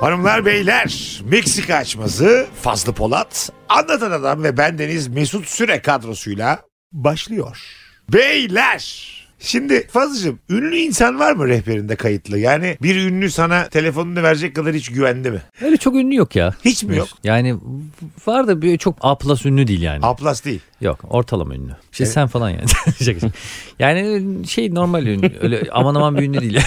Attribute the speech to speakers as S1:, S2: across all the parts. S1: Hanımlar beyler Meksika açması Fazlı Polat Anlatan Adam ve bendeniz Mesut Süre kadrosuyla başlıyor. Beyler Şimdi Fazlıcığım ünlü insan var mı rehberinde kayıtlı? Yani bir ünlü sana telefonunu verecek kadar hiç güvendi mi?
S2: Öyle çok ünlü yok ya.
S1: Hiç mi yok?
S2: Yani var da bir çok A plus ünlü değil yani.
S1: Aplas değil.
S2: yok ortalama ünlü. İşte sen falan yani. Şaka şaka. yani şey normal ünlü. Öyle aman aman bir ünlü değil.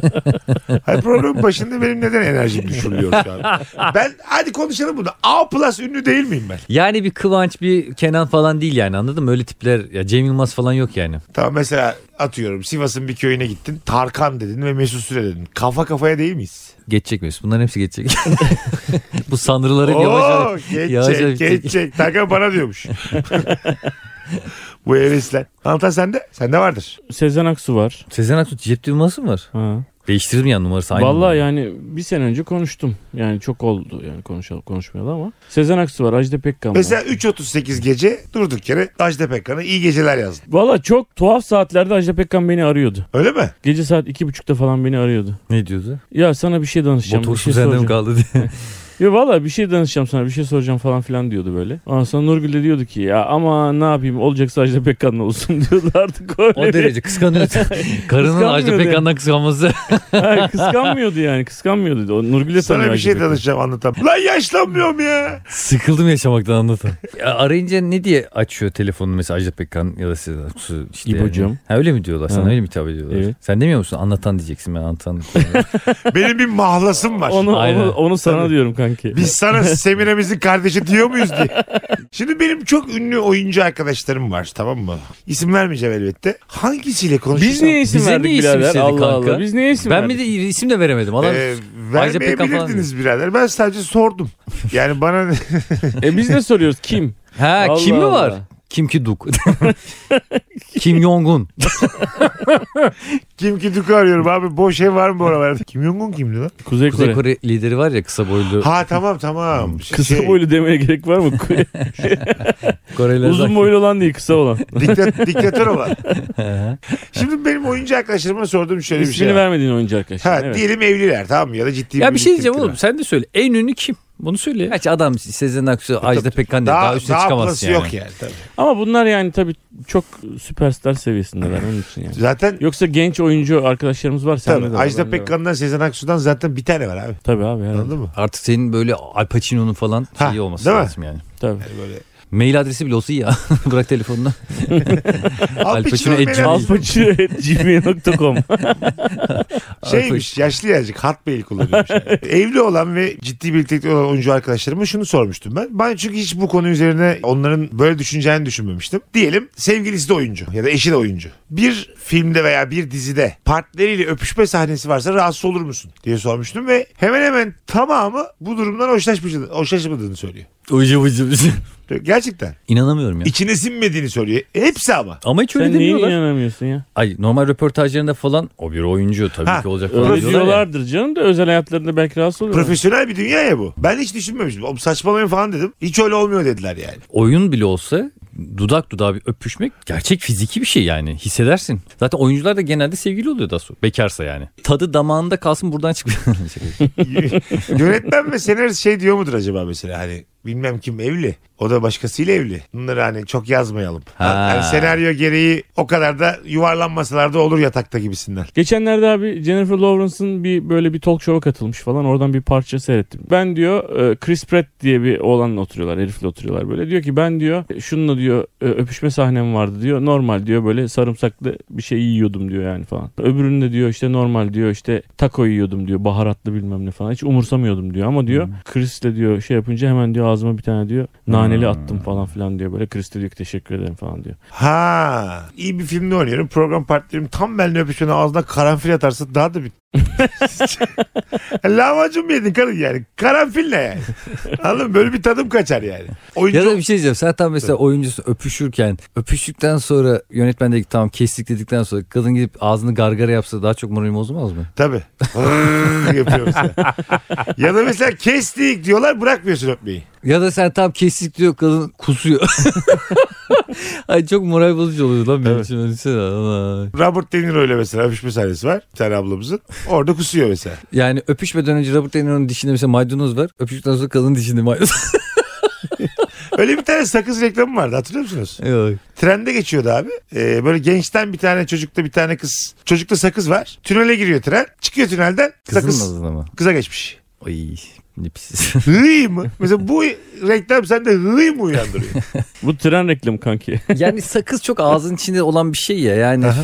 S1: Hayır programın başında benim neden enerjim düşürülüyor şu an? Ben hadi konuşalım bunu. A plus ünlü değil miyim ben?
S2: yani bir Kıvanç bir Kenan falan değil yani anladın mı? Öyle tipler ya Cem Yılmaz falan yok yani.
S1: Tamam mesela atıyorum Sivas'ın bir köyüne gittin. Tarkan dedin ve Mesut Süre dedin. Kafa kafaya değil miyiz?
S2: Geçecek miyiz? Bunların hepsi geçecek. Bu sanrıları
S1: Oo,
S2: yavaş yavaş.
S1: geçecek,
S2: yavaş yavaş bitecek.
S1: geçecek. Tarkan bana diyormuş. Bu hevesler. Anlatan sende. Sende vardır.
S3: Sezen Aksu var.
S2: Sezen Aksu cep düğması mı var?
S3: Ha.
S2: Değiştirdim ya numarası aynı. numara.
S3: Vallahi yani bir sene önce konuştum. Yani çok oldu yani konuşalım konuşmayalı ama. Sezen Aksu var, Ajda Pekkan var.
S1: Mesela 3.38 gece durduk yere Ajda Pekkan'a iyi geceler yazdın.
S3: Valla çok tuhaf saatlerde Ajda Pekkan beni arıyordu.
S1: Öyle mi?
S3: Gece saat iki buçukta falan beni arıyordu.
S2: Ne diyordu?
S3: Ya sana bir şey danışacağım, bir
S2: Motorsu
S3: şey
S2: sende
S3: soracağım.
S2: mi kaldı diye.
S3: Ya valla bir şey danışacağım sana, bir şey soracağım falan filan diyordu böyle. Ondan sonra Nurgül de diyordu ki ya ama ne yapayım olacaksa Ajda Pekkan'la olsun diyordu artık öyle.
S2: O derece kıskanıyordu. Karının Ajda
S3: Kıskanmıyordu
S2: Pekkan'dan kıskanması.
S3: Ha, kıskanmıyordu yani kıskanmıyordu. O Nurgül de
S1: Sana
S3: tanıyor
S1: bir
S3: Ajda
S1: şey
S3: Pekkan'ı.
S1: danışacağım anlatam. Lan yaşlanmıyorum ya.
S2: Sıkıldım yaşamaktan anlatın. Ya arayınca ne diye açıyor telefonu mesela Ajda Pekkan ya da Sezen Aksu işte. yani.
S3: İbocuğum.
S2: Ha, öyle mi diyorlar sana
S3: Ha.
S2: öyle mi hitap ediyorlar?
S3: Evet.
S2: Sen demiyor musun anlatan diyeceksin ben anlatan.
S1: Benim bir mahlasım var.
S3: Onu,
S2: Aynen.
S3: onu, onu sana diyorum kanki.
S1: Biz sana Semiremiz'in kardeşi diyor muyuz diye. Şimdi benim çok ünlü oyuncu arkadaşlarım var tamam mı? İsim vermeyeceğim elbette. Hangisiyle konuşursam...
S3: Biz niye isim
S2: Bize
S3: verdik
S2: niye isim
S3: birader?
S2: istedik
S3: Allah
S2: kanka?
S3: Allah. Biz niye isim
S2: ben bir
S3: verdik?
S2: de isim de veremedim. Adam
S1: Ee,
S2: Ajda Pekkan falan
S1: vermeyebilirdiniz birader. Ben sadece sordum. Yani bana
S3: E biz de soruyoruz kim?
S2: Ha
S3: Allah
S2: kim mi var?
S3: Allah.
S2: Kim ki Duk. kim Yongun.
S1: kim ki Duk'u arıyorum abi. Boş ev var mı bu aralarda? Kim Jong-un kimdi lan?
S3: Kuzey Kore.
S2: Kuzey Kore lideri var ya kısa boylu.
S1: Ha tamam tamam.
S3: Kısa
S1: Şey,
S3: boylu demeye gerek var mı?
S2: Koreliler
S3: Uzun boylu olan değil kısa olan.
S1: diktat- diktatör olan. Şimdi benim oyuncu arkadaşlarıma sorduğum şöyle bir
S3: İsmini
S1: şey. var.
S3: vermediğin oyuncu arkadaşlar.
S1: Ha,
S3: evet.
S1: Diyelim evliler tamam mı? Ya da ciddi
S4: Ya bir şey diyeceğim
S1: birliktelikleri
S4: oğlum
S1: var.
S4: sen de söyle. En ünlü kim? Bunu söyle ya.
S2: Kaç adam Sezen Aksu, Ajda Pekkan diye
S1: Daha,
S2: daha,
S1: daha,
S2: üstüne çıkamazsın
S1: ablası
S2: yani.
S1: yok yani. Tabii.
S3: Ama bunlar yani tabii çok süperstar seviyesindeler onun için yani.
S1: Zaten
S3: Yoksa genç oyuncu arkadaşlarımız var. Sende de
S1: Tabii.
S3: var,
S1: Ajda
S3: bende de var.
S1: Pekkan'dan Sezen Aksu'dan zaten bir tane var abi.
S3: Tabii abi herhalde.
S1: Anladın mı?
S2: Artık senin böyle Al Pacino'nun falan
S1: Ha,
S2: şeyi olması
S1: değil mi?
S2: lazım yani.
S3: Tabii.
S1: Yani böyle.
S2: Mail adresi bile olsa iyi ya. Bırak telefonunu.
S1: Al Pacino
S2: Pacino Edge.
S1: beyler.
S3: Alpacino.gmail.com
S1: Şeymiş Şey yaşlı yazık hat mail kullanıyormuş. yani. Evli olan ve ciddi birliktelikte olan oyuncu arkadaşlarıma şunu sormuştum ben. Ben çünkü hiç bu konu üzerine onların böyle düşüneceğini düşünmemiştim. Diyelim sevgilisi de oyuncu ya da eşi de oyuncu. Bir filmde veya bir dizide partneriyle öpüşme sahnesi varsa rahatsız olur musun diye sormuştum ve hemen hemen tamamı bu durumdan hoşlaşmış- hoşlaşmadığını söylüyor.
S2: Ucu ucu ucu.
S1: Gerçekten.
S2: İnanamıyorum ya.
S1: İçine sinmediğini söylüyor. Hepsi ama.
S2: Ama hiç öyle
S3: Sen niye
S2: demiyorlar.
S3: inanamıyorsun ya?
S2: Ay normal röportajlarında falan o bir oyuncu tabii
S1: Ha,
S2: ki olacak falan
S3: Öyle
S2: diyorlar. ya.
S3: diyorlardır canım da özel hayatlarında belki rahatsız oluyor.
S1: Profesyonel bir dünya ya bu. Ben hiç düşünmemiştim. Oğlum saçmalamayın falan dedim. Hiç öyle olmuyor dediler yani.
S2: Oyun bile olsa dudak dudağa bir öpüşmek gerçek fiziki bir şey yani hissedersin. Zaten oyuncular da genelde sevgili oluyor daha sonra bekarsa yani. Tadı damağında kalsın buradan çıkıyor. Şaka.
S1: Yönetmen ve senarist şey diyor mudur acaba mesela hani bilmem kim evli. O da başkasıyla evli. Bunları hani çok yazmayalım.
S2: Ha.
S1: Yani senaryo gereği o kadar da yuvarlanmasalar da olur yatakta gibisinden.
S3: Geçenlerde abi Jennifer Lawrence'ın bir böyle bir talk show'a katılmış falan. Oradan bir parça seyrettim. Ben diyor e, Chris Pratt diye bir oğlanla oturuyorlar. Herifle oturuyorlar böyle. Diyor ki ben diyor e, şununla diyor e, öpüşme sahnem vardı diyor. Normal diyor böyle sarımsaklı bir şey yiyordum diyor yani falan. Öbüründe diyor işte normal diyor işte taco yiyordum diyor. Baharatlı bilmem ne falan. Hiç umursamıyordum diyor ama diyor Chris'le diyor şey yapınca hemen diyor ağzıma bir tane diyor naneli attım falan filan diyor. Böyle Chris de diyor ki teşekkür ederim falan diyor.
S1: Ha iyi bir filmde oynuyorum. Program partnerim tam benimle öpüşüyor. Ağzına karanfil atarsa daha da bir... Lahmacun mu yedin karın yani? Karanfil ne yani? Anladın mı? Böyle bir tadım kaçar yani. Oyuncu
S2: ya da bir şey diyeceğim. Sen tam mesela oyuncusun öpüşürken öpüştükten sonra yönetmen dedi ki tamam kestik dedikten sonra kadın gidip ağzını gargara yapsa daha çok moralim bozulmaz mı?
S1: Tabii. Hırrrr yapıyor mesela. ya da mesela kestik diyorlar bırakmıyorsun öpmeyi.
S2: Ya da sen tam kestik diyor kadın kusuyor. Ay çok moral bozucu oluyor lan benim
S1: Evet.
S2: için. Düşünsene. Allah.
S1: Robert De Niro ile mesela öpüşme sahnesi var. Bir tane ablamızın. Orada kusuyor mesela.
S2: Yani öpüşmeden önce Robert De Niro'nun dişinde mesela maydanoz var. Öpüştükten sonra kadının dişinde maydanoz.
S1: Öyle bir tane sakız reklamı vardı hatırlıyor musunuz?
S2: Yok.
S1: Trende geçiyordu abi. Ee, böyle gençten bir tane çocukta bir tane kız. Çocukta sakız var. Tünele giriyor tren. Çıkıyor tünelden.
S2: Kızın
S1: sakız
S2: adını ama.
S1: kıza geçmiş.
S2: Ay ne pis.
S1: Hıy mı? Mesela bu reklam sende hıy mı uyandırıyor?
S3: Bu tren reklamı kanki.
S2: yani sakız çok ağzın içinde olan bir şey ya yani. üf,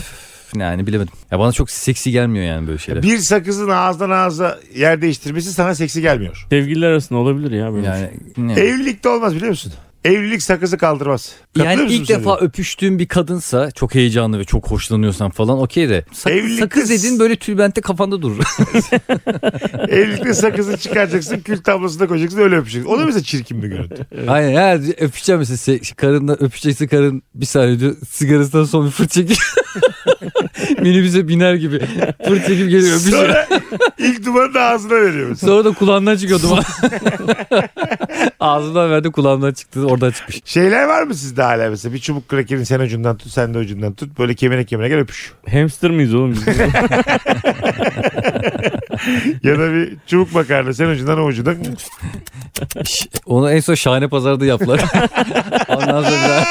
S2: yani bilemedim. Ya bana çok seksi gelmiyor yani böyle şeyler.
S1: bir sakızın ağızdan ağza yer değiştirmesi sana seksi gelmiyor.
S3: Sevgililer arasında olabilir ya böyle. Yani.
S2: Yani, ne?
S1: Evlilikte olmaz biliyor musun? Evlilik sakızı kaldırmaz. Katılıyor
S2: yani
S1: musun
S2: ilk
S1: sen
S2: defa öpüştüğün bir kadınsa çok heyecanlı ve çok hoşlanıyorsan falan okey de. Sak-
S1: Evlilik
S2: sakız
S1: kız-
S2: dedin böyle tülbente kafanda durur.
S1: de? Evlilikte sakızı çıkaracaksın, kül tablasına koyacaksın, öyle öpeceksin. O da mesela çirkin bir görüntü.
S2: Aynen ya öpeceğim mesela se- karınla öpeceksin karın bir saniye diyor sigarasından sonra bir fırt çekip minibüse biner gibi fırt çekip geliyor öpüşüyor. Sonra,
S1: Sonra ilk dumanı da ağzına veriyor mesela.
S2: da kulağından çıkıyordu. Ağzından verdi kulağından çıktı oradan çıkmış.
S1: Şeyler var mı sizde hala mesela? Bir çubuk krakerin sen ucundan tut, sen de ucundan tut. Böyle kemine kemine gel öpüş.
S3: Hamster miyiz oğlum biz?
S1: ya da bir çubuk makarna sen ucundan o ucundan.
S2: Onu en son şahane pazarda yaptılar. Ondan sonra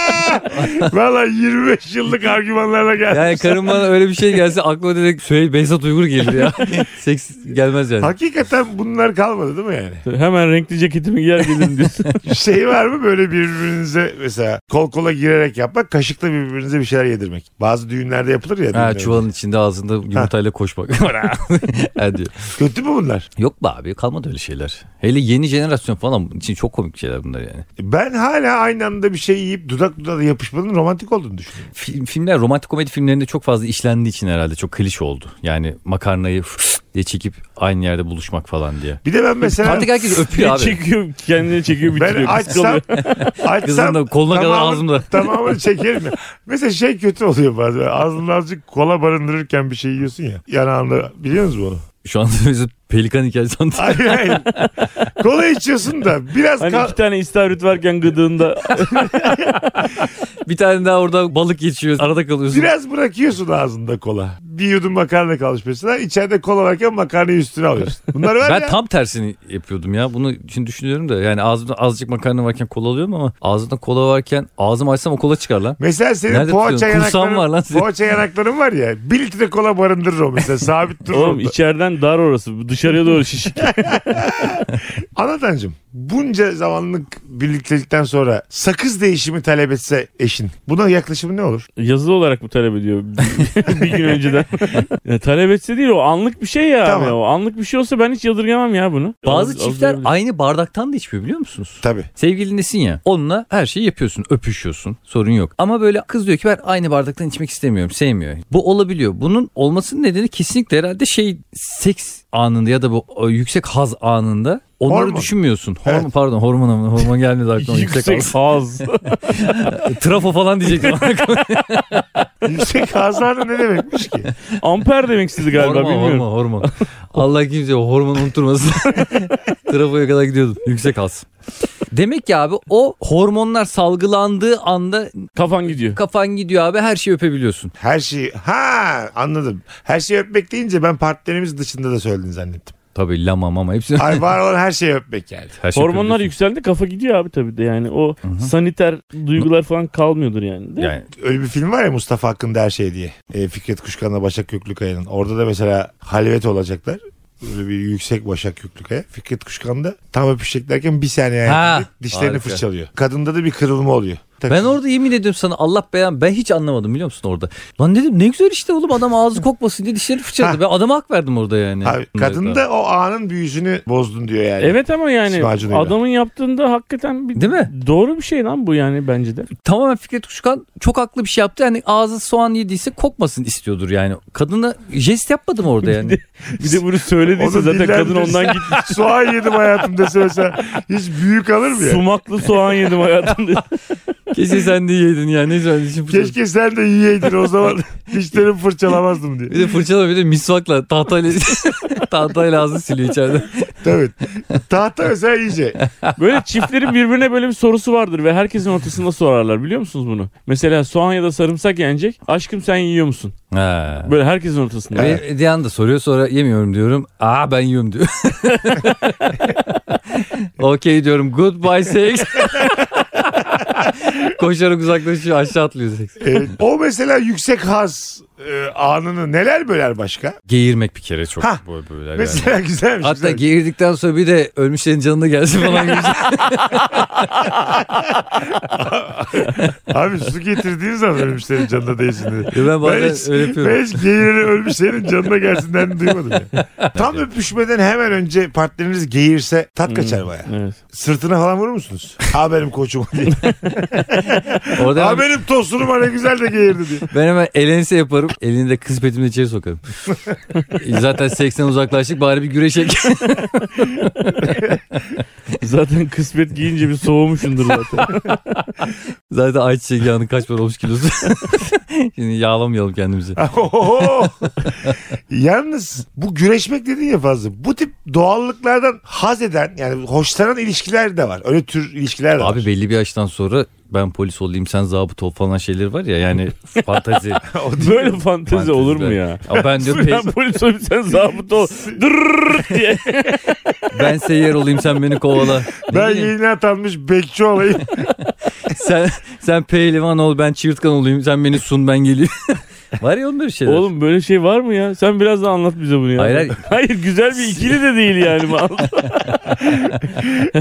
S1: Valla 25 yıllık argümanlarla
S2: bir-
S1: geldi.
S2: yani karım bana öyle bir şey gelse aklıma direkt Süheyl Behzat Uygur gelir ya. Seks gelmez yani.
S1: Hakikaten bunlar kalmadı değil mi yani?
S3: Hemen renkli ceketimi giyer gelin diyorsun.
S1: Şey var mı böyle birbirinize mesela kol kola girerek yapmak, kaşıkla birbirinize bir şeyler yedirmek. Bazı düğünlerde yapılır ya.
S2: Ha,
S1: düğünlerde.
S2: çuvalın içinde ağzında yumurtayla koşmak. Ha, diyor.
S1: Kötü mü bunlar?
S2: Yok be abi kalmadı öyle şeyler. Hele yeni jenerasyon falan için çok komik şeyler bunlar yani.
S1: Ben hala aynı anda bir şey yiyip dudak dudağa da yapışmanın romantik olduğunu düşünüyorum.
S2: Film- filmler romantik komedi filmlerinde çok fazla işlendiği için herhalde çok klişe oldu. Yani makarnayı diye çekip aynı yerde buluşmak falan diye.
S1: Bir de ben mesela
S2: Artık herkes öpüyor abi.
S3: çekiyor kendini çekiyor
S1: ben
S3: bitiriyor. Kız
S1: açsam,
S3: kalıyor.
S1: açsam
S2: Kızın da koluna kadar
S1: tamamı-
S2: ağzımda.
S1: tamamını çekerim ya. Mesela şey kötü oluyor bazen. Ağzında azıcık kola barındırırken bir şey yiyorsun ya. Yanağında biliyor musunuz bunu?
S2: Şu anda bizi pelikan hikayesi
S1: Hayır
S2: anlatıyor.
S1: hayır. kola içiyorsun da biraz
S3: Hani
S1: kal-
S3: iki tane istavrit varken gıdığında
S2: Bir tane daha orada balık geçiyor. Arada kalıyorsun.
S1: Biraz bırakıyorsun ağzında kola. Bir yudum makarna kalmış mesela. İçeride kola varken makarnayı üstüne alıyorsun. Bunlar var
S2: Ben
S1: ya.
S2: tam tersini yapıyordum ya. Bunu şimdi düşünüyorum da yani ağzımda azıcık makarna varken kola alıyorum ama ağzımda kola varken ağzım açsam o kola çıkar lan.
S1: Mesela senin
S2: Nerede
S1: poğaça
S2: tutuyorsun? Kursağın
S1: yanakların,
S2: var lan senin.
S1: poğaça yanakların var ya. Bir litre kola barındırır o mesela. Sabit durur
S3: oğlum
S1: orada.
S3: içeriden dar orası bu dışarıya doğru şişik.
S1: Anlatancım bunca zamanlık birliktelikten sonra sakız değişimi talep etse eşin. Buna yaklaşımı ne olur?
S3: Yazılı olarak mı talep ediyor bir gün önceden? ya, talep etse değil o anlık bir şey ya.
S1: Tamam.
S3: abi, O anlık bir şey olsa ben hiç yadırgamam ya bunu.
S2: Bazı
S3: Az-
S2: çiftler
S3: az-
S2: aynı bardaktan da içmiyor biliyor musunuz?
S1: Tabii.
S2: Sevgilindesin ya onunla her şeyi yapıyorsun öpüşüyorsun sorun yok. Ama böyle kız diyor ki ben aynı bardaktan içmek istemiyorum sevmiyor. Bu olabiliyor. Bunun olmasının nedeni kesinlikle herhalde şey seks anında ya da bu e, yüksek haz anında onları
S1: Hormon.
S2: düşünmüyorsun. Hormon
S1: Evet.
S2: pardon hormon ama hormon gelmedi aklıma yüksek,
S3: Yüksek
S2: haz.
S3: haz.
S2: Trafo falan diyecektim.
S1: Yüksek hazarda ne demekmiş ki?
S3: Amper demek istedi galiba
S2: hormon,
S3: bilmiyorum.
S2: Hormon hormon. Allah kimse o hormonu unutturmasın. Trafoya kadar gidiyordum. Yüksek az. Demek ki abi o hormonlar salgılandığı anda
S3: Kafan gidiyor.
S2: kafan gidiyor abi her şeyi öpebiliyorsun.
S1: Her şeyi ha anladım. Her şeyi öpmek deyince ben partnerimiz dışında da söyledin zannettim.
S2: Tabii lama mama hepsini.
S1: Ay var olan her şeyi öpmek yani.
S2: Her şey şeyi
S3: Hormonlar
S2: öpebiliyorsun.
S3: yükseldi kafa gidiyor abi tabii de yani o saniter duygular falan kalmıyordur yani. Değil mi?
S2: Yani
S1: Öyle bir film var ya Mustafa Hakkında Her Şey diye. E, Fikret Kuşkan'la Başak Köklükaya'nın. Orada da mesela halvet olacaklar. Böyle bir yüksek Başak Köklükaya. Fikret Kuşkan da tam öpüşeceklerken bir saniye
S2: Ha,
S1: ayakta dişlerini
S2: harika.
S1: fırçalıyor. Kadında da bir kırılma oluyor. Tabii.
S2: ben orada yemin ediyorum sana Allah beyan ben hiç anlamadım biliyor musun orada. Lan dedim ne güzel işte oğlum adam ağzı kokmasın diye dişleri fırçaladı.
S1: Ha.
S2: Ben adama hak verdim orada yani.
S1: Abi, kadın da o anın büyüsünü bozdun diyor yani.
S3: Evet ama yani
S1: Sıvacılığıyla.
S3: adamın yaptığında hakikaten bir
S2: Değil mi?
S3: Doğru bir şey lan bu yani bence de.
S2: Tamamen Fikret Kuşkan çok haklı bir şey yaptı. Yani ağzı soğan yediyse kokmasın istiyordur yani. Kadına jest yapmadım orada yani.
S3: Bir de bunu söylediyse
S1: Onu
S3: zaten kadın
S1: dillendirsin.
S3: ondan gitti.
S1: Soğan yedim hayatım dese mesela hiç büyük alır mı ya?
S3: Sumaklı soğan yedim hayatımda.
S2: Keşke sen de yedin ya. Neyse ben şimdi fırçalayayım.
S1: Keşke sen de yiyeydin o zaman dişlerimi fırçalamazdım diye.
S2: Bir de fırçala bir de misvakla tahtayla tahtayla ağzını siliyor içeride.
S1: Tabii. Tahta mesela iyice.
S3: Böyle çiftlerin birbirine böyle bir sorusu vardır ve herkesin ortasında sorarlar biliyor musunuz bunu? Mesela soğan ya da sarımsak yenecek. Aşkım sen yiyor musun?
S2: Ha.
S3: Böyle herkesin ortasında.
S2: Ve Diyan Hani da soruyor sonra yemiyorum diyorum. Aa ben yiyorum diyor. Okey diyorum. Goodbye sex. Koşarak uzaklaşıyor aşağı atlıyor seks.
S1: Evet. E, O mesela yüksek haz e, anını neler böler başka?
S2: Geğirmek bir kere çok.
S1: Hah.
S2: Böyle, böyle yani.
S1: Mesela güzelmiş.
S2: Hatta
S1: güzelmiş.
S2: geğirdikten sonra bir de ölmüşlerin canına gelsin falan gibi.
S1: Abi su getirdiğim zaman ölmüşlerin canına değsin dedi.
S2: ben bazen
S1: Ben hiç,
S2: öyle yapıyorum.
S1: ben hiç geğirene ölmüşlerin canına gelsinden duymadım ya. Tam öpüşmeden hemen önce partneriniz geğirse
S2: Hmm.
S1: tat kaçar baya.
S3: Evet.
S1: Sırtına falan vurur musunuz? Ha benim koçum diye.
S2: Orada
S1: ha
S2: ben,
S1: benim tosunum var ne güzel de geğirdi diye.
S2: ben hemen elense yaparım. Elini de kız petimle içeri sokarım. Zaten seksten uzaklaştık bari bir güreşek.
S3: Zaten kısmet giyince bir soğumuşsundur zaten.
S2: Zaten ayçiçek yağının kaç para olmuş kilosu. Şimdi yağlamayalım kendimizi.
S1: Ohoho. Yalnız bu güreşmek dedin ya fazla. Bu tip doğallıklardan haz eden yani hoşlanan ilişkiler de var. Öyle tür ilişkiler de
S2: Abi belli bir yaştan sonra ben polis olayım sen zabıt ol falan şeyleri var ya yani fantazi.
S1: var. O değil.
S3: Böyle fantezi olur mu ya?
S2: Ya ben diyor
S3: Ben
S2: pe-
S3: polis olayım sen zabıt ol. Dırrrr diye.
S2: ben seyyar olayım sen beni kovala. Ne
S1: ben
S2: bileyim,
S1: yeni atanmış bekçi olayım.
S2: sen, sen pehlivan ol ben çığırtkan olayım sen beni sun ben geleyim. var ya oğlum böyle şeyler.
S3: Oğlum böyle şey var mı ya? Sen biraz daha anlat bize bunu ya.
S2: Hayır, hayır.
S3: Hayır, güzel bir ikili de değil yani.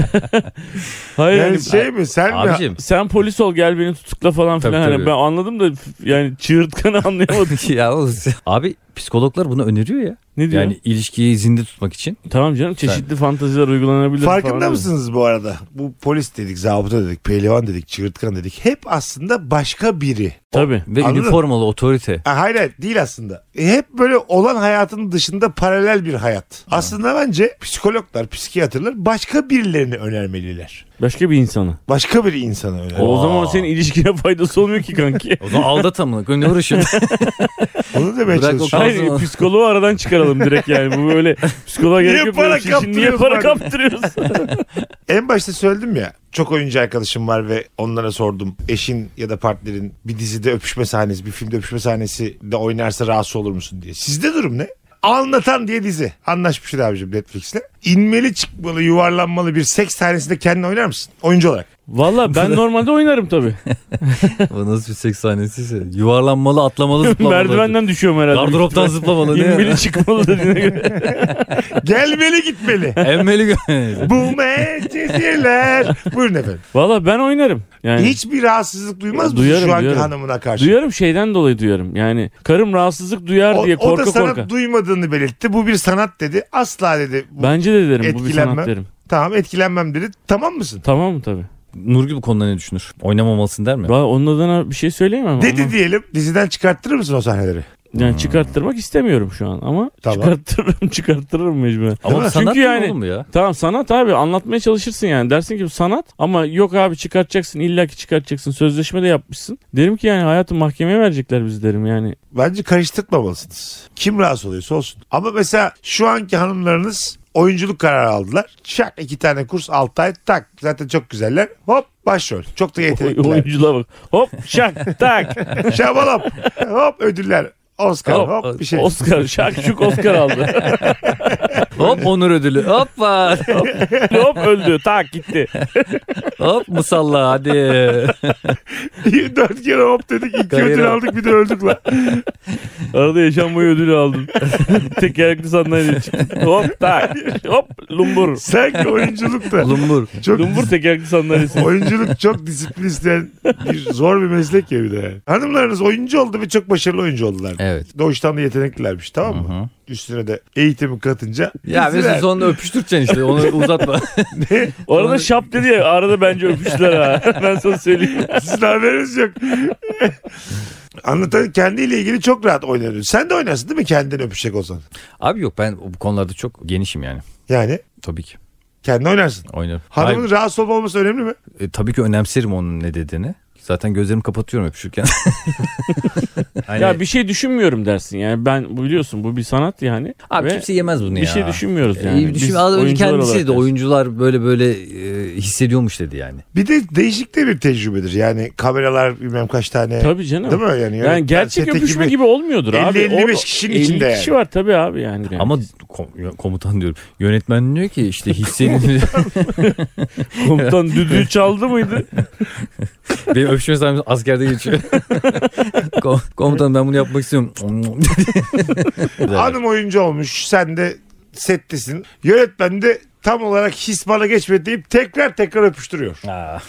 S3: hayır
S1: Yani
S3: hani
S1: şey mi sen mi?
S2: Abicim
S3: sen polis ol gel beni tutukla falan
S2: Tabii,
S3: filan. Hani
S2: tabii.
S3: ben anladım da f- yani çığırtkanı anlayamadım.
S2: ya oğlum, sen- abi psikologlar bunu öneriyor ya.
S3: ne diyor?
S2: Yani ilişkiyi zinde tutmak için.
S3: tamam canım çeşitli fantaziler uygulanabilir falan.
S1: Farkında
S3: diyor.
S1: mısınız bu arada? Bu polis dedik, zabıta dedik, pehlivan dedik, çığırtkan dedik. Hep aslında başka biri.
S3: Tabii.
S2: Ve
S1: Anladım.
S2: üniformalı otorite.
S1: Ha, hayır hayır, değil aslında. E, Hep böyle olan hayatın dışında paralel bir hayat. Aslında bence psikologlar, psikiyatrlar başka birilerini önermeliler.
S3: Başka bir insanı.
S1: Başka bir insana önermeliler.
S3: O
S2: Aa.
S3: zaman senin ilişkine faydası olmuyor ki kanki.
S2: O zaman aldatamını. Ne uğraşıyorsun?
S1: Onu demeye
S2: Bırak o
S1: çalışıyorum.
S3: Hayır
S2: zaman-
S3: psikoloğu aradan çıkaralım direkt yani. Bu böyle psikoloğa
S1: Niye
S3: gerek yok. böyle
S1: para
S3: bir şey için. Niye
S1: kaptırıyorsun
S3: para
S1: abi?
S3: kaptırıyorsun?
S1: En başta söyledim ya. Çok oyuncu arkadaşım var ve onlara sordum. Eşin ya da partnerin bir dizide öpüşme sahnesi, bir filmde öpüşme sahnesi de oynarsa rahatsız olur musun diye. Sizde durum ne? Anlatan diye dizi. Anlaşmışız abicim Netflix'le. İnmeli çıkmalı, yuvarlanmalı bir seks sahnesinde kendin oynar mısın? Oyuncu olarak.
S3: Valla ben normalde oynarım tabii.
S2: Bu nasıl bir seks sahnesi? Yuvarlanmalı, atlamalı, zıplamalı.
S3: Merdivenden düşüyorum herhalde.
S2: Gardıroptan zıplamalı. ne?
S3: İnmeli çıkmalı dediğine göre.
S1: Gelmeli gitmeli.
S2: Emmeli
S1: Bu meclisler. Buyurun efendim.
S3: Valla ben oynarım. Yani
S1: Hiçbir rahatsızlık duymaz mısın
S3: Duyarım,
S1: şu anki
S3: duyarım.
S1: hanımına karşı?
S3: duyarım şeyden dolayı duyarım. Yani karım rahatsızlık duyar
S1: O,
S3: diye
S1: o
S3: korka
S1: da sanat
S3: korka.
S1: duymadığını belirtti. Bu bir sanat dedi. Asla dedi. Bu
S3: Bence de derim bu bir
S1: Etkilenme.
S3: sanat derim.
S1: Tamam etkilenmem dedi. Tamam mısın?
S3: Tamam mı tabii?
S2: Nurgül bu konuda ne düşünür? Oynamamalısın der mi?
S3: Valla onun adına bir şey söyleyemem
S1: Dedi
S3: ama.
S1: diyelim diziden çıkarttırır mısın o sahneleri?
S3: Yani çıkarttırmak istemiyorum şu an ama
S1: Tamam.
S3: çıkarttırırım çıkarttırırım mecburen.
S2: Ama
S1: Değil
S2: bu
S1: mi?
S2: sanat
S3: Çünkü
S2: değil
S3: yani-
S2: oğlum bu ya?
S3: Tamam sanat abi anlatmaya çalışırsın yani. Dersin ki bu sanat ama yok abi çıkartacaksın illaki çıkartacaksın. Sözleşme de yapmışsın. Derim ki yani hayatı mahkemeye verecekler bizi derim yani.
S1: Bence karıştırmamalısınız. Kim rahatsız oluyorsa olsun. Ama mesela şu anki hanımlarınız oyunculuk kararı aldılar. Şak iki tane kurs 6 ay tak. Zaten çok güzeller. Hop başrol. Çok da
S3: O,
S1: yetenekliler.
S3: oyunculuğa bak. Hop şak tak.
S1: Şabalop. Hop ödüller. Oscar hop, bir şey.
S3: Oscar şak şuk Oscar aldı.
S2: Hop onur ödülü. Hoppa.
S3: Hop öldü tak gitti.
S2: Hop musalla hadi.
S1: Dört kere hop dedik. iki
S2: Kariyer
S1: ödül
S2: al.
S1: aldık bir de öldük lan.
S3: Arada yaşanmayı ödülü aldın. Tekerlekli sandalye çıktı. Hop tak. Hop lumbur.
S1: Sanki oyunculuk da.
S2: Lumbur.
S1: Çok
S3: Lumbur tekerlekli sandalyesi.
S1: Oyunculuk çok disiplin isteyen bir zor bir meslek ya bir de. Hanımlarınız oyuncu oldu ve çok başarılı oyuncu oldular.
S2: Evet.
S1: Doğuştan da yeteneklilermiş tamam mı? Üstüne de eğitimi katınca.
S2: Ya
S1: bizler.
S2: mesela sonunda öpüştüreceksin işte onu uzatma.
S3: Orada şap dedi ya arada bence öpüştüler ha. Ben sana söyleyeyim.
S1: Sizin haberiniz yok. Anlatan kendiyle ilgili çok rahat oynuyor. Sen de oynarsın değil mi kendini öpüşecek olsan?
S2: Abi yok ben bu konularda çok genişim yani.
S1: Yani
S2: Tabii ki
S1: kendin oynarsın.
S2: oynarım.
S1: Hanımın
S2: Hayır,
S1: rahatsız olmaması önemli mi?
S2: e, tabii ki önemserim onun ne dediğini. Zaten gözlerimi kapatıyorum öpüşürken. Hani-
S3: Ya bir şey düşünmüyorum dersin yani ben bu biliyorsun bu bir sanat yani.
S2: Abi
S3: Ve
S2: kimse yemez bunu
S3: bir
S2: ya.
S3: şey düşünmüyoruz
S2: Ee,
S3: yani.
S2: düşün-
S3: Biz
S2: Az önce
S3: oyuncular
S2: kendisi
S3: olarak
S2: dedi
S3: yani.
S2: oyuncular böyle böyle e, hissediyormuş dedi yani.
S1: Bir de değişik de bir tecrübedir. Yani kameralar bilmem kaç tane.
S3: Tabii canım.
S1: Değil mi yani?
S3: Yani gerçek
S1: sete
S3: öpüşme gibi, olmuyordur abi.
S1: 50-55
S3: O-
S1: kişinin
S3: 50
S1: içinde
S3: kişi
S1: yani.
S3: var tabii abi yani.
S2: Ama kom- komutan diyorum. Yönetmen diyor ki işte hissedin.
S3: komutan düdüğü çaldı mıydı?
S2: Benim öpüşme sahnem askerde geçiyor. Kom- komutan ben bunu yapmak istiyorum.
S1: Hanım oyuncu olmuş. Sen de settesin. Yönetmen de tam olarak his bana geçmedi deyip tekrar tekrar öpüştürüyor.
S2: Aa,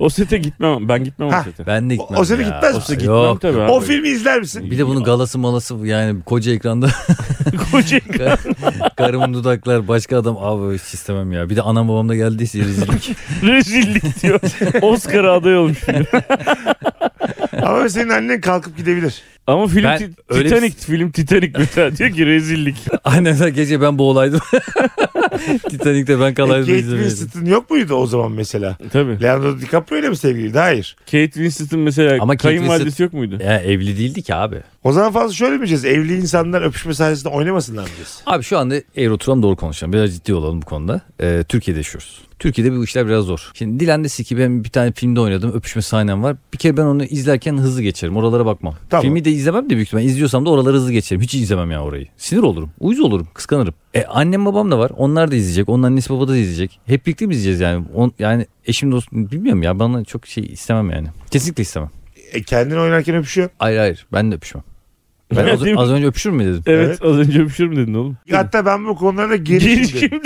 S3: O sete gitmem. Ben gitmem
S1: Ha.
S3: o sete.
S2: ben de gitmem
S1: O sene
S2: ya.
S1: gitmez misin?
S3: Gitmem
S2: Yok.
S3: tabii abi.
S1: O filmi izler misin?
S2: Bir de bunun galası malası yani koca ekranda
S3: Koca-
S2: karımın dudaklar başka adam abi hiç istemem ya. Bir de anam babam da geldiyse rezillik.
S3: rezillik diyor. Oscar aday olmuş film.
S1: Ama senin annen kalkıp gidebilir.
S3: Ama film
S2: Ben
S3: Ti-
S2: öyle bir-
S3: Titanic film Titanic mesela diyor ki rezillik.
S2: Annemler gece ben boğulaydım. Titanic'te ben
S1: E,
S2: kalaydım.
S1: Kate
S2: izlemedim.
S1: Winslet'in yok muydu o zaman mesela?
S3: Tabii.
S1: Leonardo DiCaprio ile mi sevgiliydi? Hayır.
S3: Kate Winslet'in mesela
S2: Ama Kate
S3: kayınvalidesi
S2: Winslet-
S3: yok muydu?
S2: Ya evli değildi ki abi.
S1: O zaman fazla şöyle mi diyeceğiz? Evli insanlar öpüşme sahnesinde oynamasınlar mı diyeceğiz?
S2: Abi şu anda eğer oturalım doğru konuşalım. Biraz ciddi olalım bu konuda. Ee, Türkiye'de yaşıyoruz. Türkiye'de bu işler biraz zor. Şimdi Dilan dese ki ben bir tane filmde oynadım. Öpüşme sahnem var. Bir kere ben onu izlerken hızlı geçerim. Oralara bakmam.
S1: Tamam.
S2: Filmi de izlemem de büyük ihtimal. İzliyorsam da oraları hızlı geçerim. Hiç izlemem ya orayı. Sinir olurum. Uyuz olurum. Kıskanırım. E annem babam da var. Onlar da izleyecek. Onun annesi baba da izleyecek. Hep birlikte mi izleyeceğiz yani? On, yani eşim dostum bilmiyorum ya. Bana çok şey istemem yani. Kesinlikle istemem.
S1: E, kendini oynarken öpüşüyor.
S2: Hayır hayır. Ben de öpüşmem. Ben az,
S3: Değil mi?
S2: az önce öpüşür mü dedim.
S3: Evet,
S1: Evet.
S3: az önce öpüşür mü dedin oğlum?
S1: Hatta ben bu konularda
S3: Geniş
S1: genişim.
S3: kim?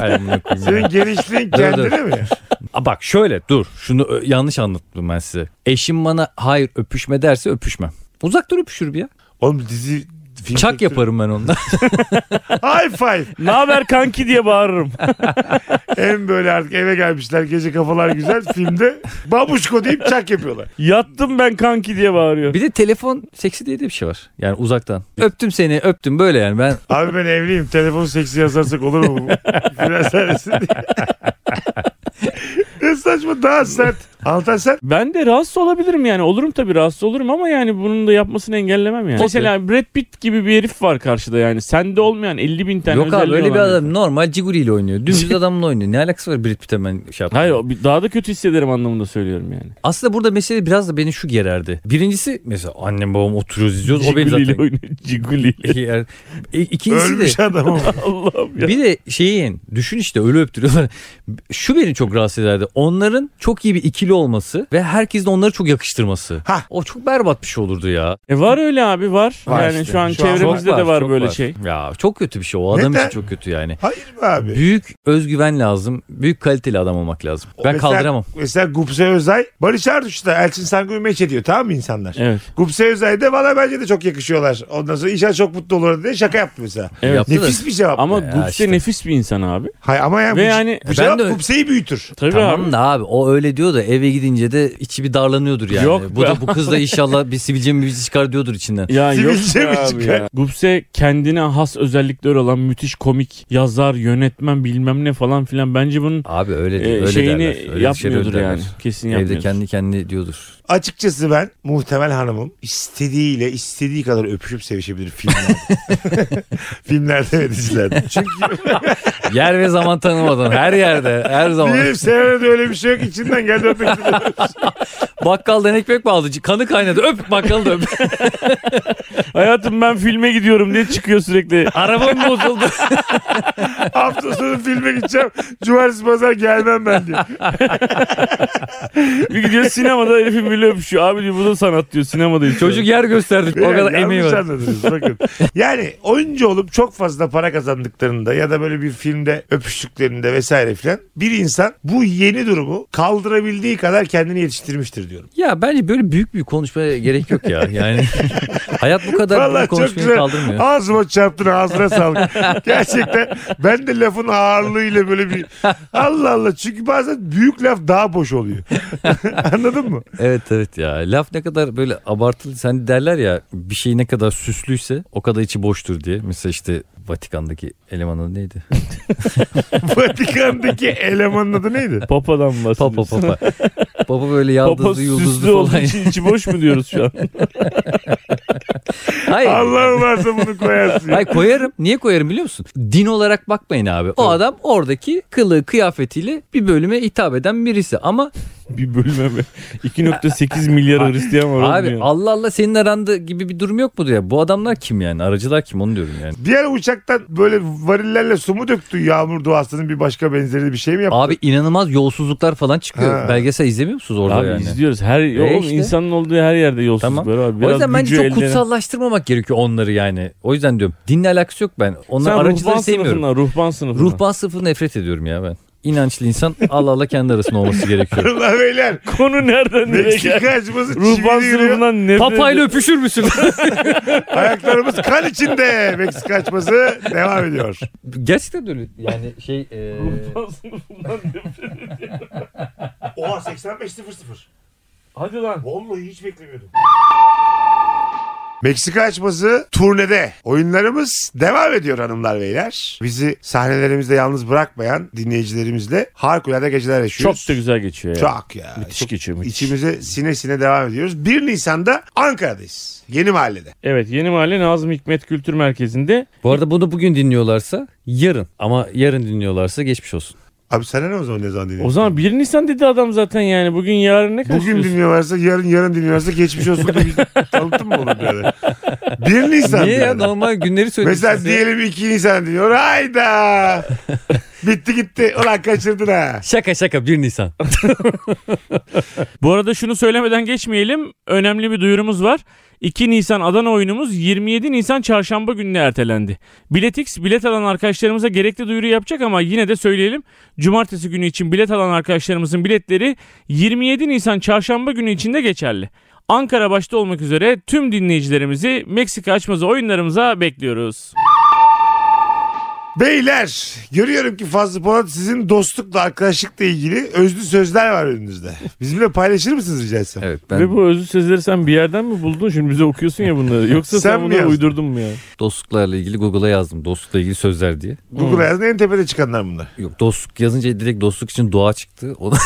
S2: Ay, amına koyayım ya.
S1: Senin genişliğin kendine mi?
S2: Aa, bak şöyle dur şunu ö, yanlış anlattım ben size. Eşim bana hayır öpüşme derse öpüşmem. Uzak dur öpüşür bir ya.
S1: Oğlum dizi film
S2: Çak yaparım ben onunla.
S1: High five.
S3: Ne haber kanki diye bağırırım.
S1: En böyle artık eve gelmişler gece kafalar güzel filmde babuşko deyip çak yapıyorlar.
S3: Yattım ben kanki diye bağırıyor.
S2: bir de telefon seksi diye de bir şey var. Yani uzaktan. Öptüm seni öptüm böyle yani ben.
S1: Abi ben evliyim telefon seksi yazarsak olur mu? bu? Biraz servisi diye. Ne saçma daha sert. Anlatan sen
S3: Ben de rahatsız olabilirim yani. Olurum tabii rahatsız olurum ama yani bunun da yapmasını engellemem yani.
S2: Okey.
S3: Mesela Brad Pitt gibi bir herif var karşıda yani. Sende olmayan 50 bin tane
S2: Yok abi
S3: özelliği
S2: öyle bir
S3: olan
S2: adam normal ciguriyle oynuyor. Dümdüz adamla oynuyor. Ne alakası var Brad Pitt'e ben şey yaptım.
S3: Hayır o bir- daha da kötü hissederim anlamında söylüyorum yani.
S2: Aslında burada mesele biraz da beni şu gererdi. Birincisi mesela annem babam oturuyoruz izliyoruz. O beni
S3: Ciguli'yle
S2: zaten.
S3: oynuyor. Ciguli'yle.
S2: Yani, e, İkincisi de.
S1: ölmüş adam ama.
S3: Allah'ım ya.
S2: Bir de şeyin düşün işte ölü öptürüyorlar. Şu beni çok rahatsız ederdi. Onların çok iyi bir ikili olması ve herkesin de onları çok yakıştırması.
S1: Hah.
S2: O çok berbat bir şey olurdu ya.
S3: E var öyle abi var.
S1: Var
S3: yani
S1: işte.
S3: şu an
S1: Şu an
S3: çevremizde
S2: Çok
S3: de var
S2: çok
S3: böyle şey.
S2: Ya çok kötü bir şey. O adam
S1: Neden?
S2: için çok kötü yani.
S1: Hayır be abi.
S2: Büyük özgüven lazım. Büyük kaliteli adam olmak lazım. Ben
S1: Mesela-
S2: kaldıramam.
S1: Mesela Gupse Özay Barış Arduç'ta Elçin Sangu'yu meç ediyor tamam mı insanlar?
S3: Evet.
S1: Gupse Özay da valla bence de çok yakışıyorlar. Ondan sonra inşallah çok mutlu olur diye şaka yaptı mesela.
S3: Evet.
S2: Yaptı da.
S1: Nefis bir cevap. Ama,
S3: Ama
S2: Ya
S3: Gupse
S2: işte.
S3: nefis bir insan abi.
S1: Hayır, ama yani,
S3: Ve
S1: bu,
S3: yani-
S1: bu cevap
S2: Ben de-
S1: Gupse'yi büyütür.
S3: Tabii abi.
S2: Tamam da abi o öyle diyor da eve gidince de içi bir darlanıyordur yani.
S3: Yok
S2: bu
S3: be.
S2: da bu kız da inşallah bir sivilce mi bizi çıkar diyordur içinden.
S3: Ya
S1: Sivilce mi çıkar?
S3: Gupse kendine has özellikleri olan müthiş komik yazar, yönetmen bilmem ne falan filan. Bence bunun
S2: Abi öyle,
S3: e,
S2: değil, öyle
S3: şeyini
S2: derler. Öyle
S3: yapmıyordur
S2: şeyler
S3: yani.
S2: derler.
S3: Kesin
S2: Evde
S3: yapmıyordur.
S2: kendi kendi diyordur.
S1: Açıkçası ben muhtemel hanımım istediğiyle istediği kadar öpüşüp sevişebilir filmlerde. filmlerde ve dizilerde. Çünkü
S2: Yer ve zaman tanımadan her yerde her zaman.
S1: diyelim senaryoda öyle bir şey yok içinden geldi öpmek istedim.
S2: Bakkaldan ekmek mi aldı? Kanı kaynadı. Öp bakkalı da öp.
S3: Hayatım ben filme gidiyorum diye çıkıyor sürekli.
S2: Arabam bozuldu.
S1: Hafta sonu filme gideceğim. Cumartesi pazar gelmem ben diyor.
S3: Bir gidiyor sinemada herifin bile öpüşüyor. Abi diyor bu da sanat diyor sinemadayız.
S2: Çocuk yer gösterdi. O
S1: Beyler,
S2: kadar
S1: yanlış
S2: emeği var.
S1: anladınız bakın. Yani oyuncu olup çok fazla para kazandıklarında ya da böyle bir filmde öpüştüklerinde vesaire filan bir insan bu yeni durumu kaldırabildiği kadar kendini yetiştirmiştir diyorum.
S2: Ya bence böyle büyük bir konuşmaya gerek yok ya. Yani hayat bu kadar
S1: Vallahi
S2: büyük
S1: çok
S2: konuşmayı
S1: güzel.
S2: kaldırmıyor.
S1: Ağzıma çarptın ağzına sağlık. Gerçekten ben de lafın ağırlığıyla böyle bir Allah Allah çünkü bazen büyük laf daha boş oluyor. Anladın mı?
S2: Evet evet ya. Laf ne kadar böyle abartılı. Sen derler ya bir şey ne kadar süslüyse o kadar içi boştur diye. Mesela işte Vatikan'daki elemanı neydi?
S1: Vatikan'daki elemanın adı neydi?
S3: Papa'dan bahsediyorsun.
S2: Papa papa. Baba böyle
S3: Papa
S2: yaldızlı
S3: süslü
S2: yıldızlı
S3: olduğu
S2: falan.
S3: için içi boş mu diyoruz şu an?
S2: Hayır.
S1: Allah varsa bunu koyarsın.
S2: Hayır koyarım. Niye koyarım biliyor musun? Din olarak bakmayın abi. O adam oradaki kılığı kıyafetiyle bir bölüme hitap eden birisi. Ama
S3: bir bölüme mi? 2.8 milyar Hristiyan var. oğlum
S2: abi
S3: ya.
S2: Allah Allah senin aranda gibi bir durum yok mu ya? Bu adamlar kim yani? Aracılar kim onu diyorum yani.
S1: Diğer uçaktan böyle varillerle su mu döktü yağmur duasının bir başka benzeri bir şey mi yaptı?
S2: Abi inanılmaz yolsuzluklar falan çıkıyor.
S1: Ha.
S2: Belgesel izlemiyor musunuz orada
S3: Abi
S2: yani?
S3: izliyoruz. Her oğlum
S2: işte.
S3: insanın olduğu her yerde yolsuzluk
S2: Tamam.
S3: var abi.
S2: o
S3: Biraz
S2: yüzden bence
S3: gücü
S2: çok
S3: ellerine-
S2: kutsallaştırmamak gerekiyor onları yani. O yüzden diyorum dinle alakası yok ben. Onlar
S3: Sen
S2: aracıları
S3: ruhban
S2: sevmiyorum.
S3: sınıfından, ruhban sınıfından.
S2: Ruhban sınıfı nefret ediyorum ya ben. İnançlı insan Allah Allah kendi arasında olması gerekiyor.
S1: Allah beyler.
S3: Konu nereden nereye geldi?
S1: Meksika açması
S3: Ruhban
S1: çivili yürüyor.
S3: sınıfından nefret
S2: Papayla öpüşür müsün?
S1: Ayaklarımız kan içinde. Meksika açması devam ediyor.
S2: Gerçekten de öyle. Yani şey... e,
S3: Ruhban sınıfından nefret
S1: Oha 85.00.
S3: Hadi lan.
S1: Vallahi hiç beklemiyordum. Meksika açması turnede. Oyunlarımız devam ediyor hanımlar beyler. Bizi sahnelerimizde yalnız bırakmayan dinleyicilerimizle harikulade geceler
S3: Çok
S1: yaşıyoruz.
S3: da güzel geçiyor ya.
S1: Çok ya.
S3: Müthiş
S1: Çok-
S3: geçiyor. müthiş.
S1: İçimize sine sine devam ediyoruz. 1 Nisan'da Ankara'dayız. Yeni mahallede.
S3: Evet Yeni Mahalle Nazım Hikmet Kültür Merkezi'nde
S2: bu arada bunu bugün dinliyorlarsa yarın. Ama yarın dinliyorlarsa geçmiş olsun.
S1: Abi sana ne o zaman ne zaman dinliyorsun?
S3: O zaman 1 Nisan dedi adam zaten yani. Bugün yarın ne
S1: Bugün
S3: kaçıyorsun?
S1: dinliyorlarsa yarın yarın dinliyorlarsa geçmiş olsun diye bir tanıtım mı olur böyle? 1 Nisan.
S2: Niye ya
S1: yani.
S2: normal günleri söylüyorsun.
S1: Mesela diyelim 2 Nisan dinliyor. Hayda. Bitti gitti. Ulan kaçırdın ha.
S2: Şaka şaka 1 Nisan.
S3: Bu arada şunu söylemeden geçmeyelim. Önemli bir duyurumuz var. 2 Nisan Adana oyunumuz 27 Nisan çarşamba gününe ertelendi. Biletix bilet alan arkadaşlarımıza gerekli duyuru yapacak ama yine de söyleyelim. Cumartesi günü için bilet alan arkadaşlarımızın biletleri 27 Nisan çarşamba günü için de geçerli. Ankara başta olmak üzere tüm dinleyicilerimizi Meksika açmazı oyunlarımıza bekliyoruz.
S1: Beyler görüyorum ki Fazlı Polat sizin dostlukla arkadaşlıkla ilgili özlü sözler var önünüzde. Bizimle paylaşır mısınız rica etsem?
S2: Evet ben
S3: Ve bu özlü sözleri sen bir yerden mi buldun? Şimdi bize okuyorsun ya bunları. Yoksa sen,
S1: Sen mi
S3: bunları
S1: yazdın?
S3: uydurdun mu ya?
S2: dostluklarla ilgili Google'a yazdım. Dostlukla ilgili sözler diye.
S1: Google'a yazın en tepede çıkanlar bunlar.
S2: Yok dostluk yazınca direkt dostluk için doğa çıktı. O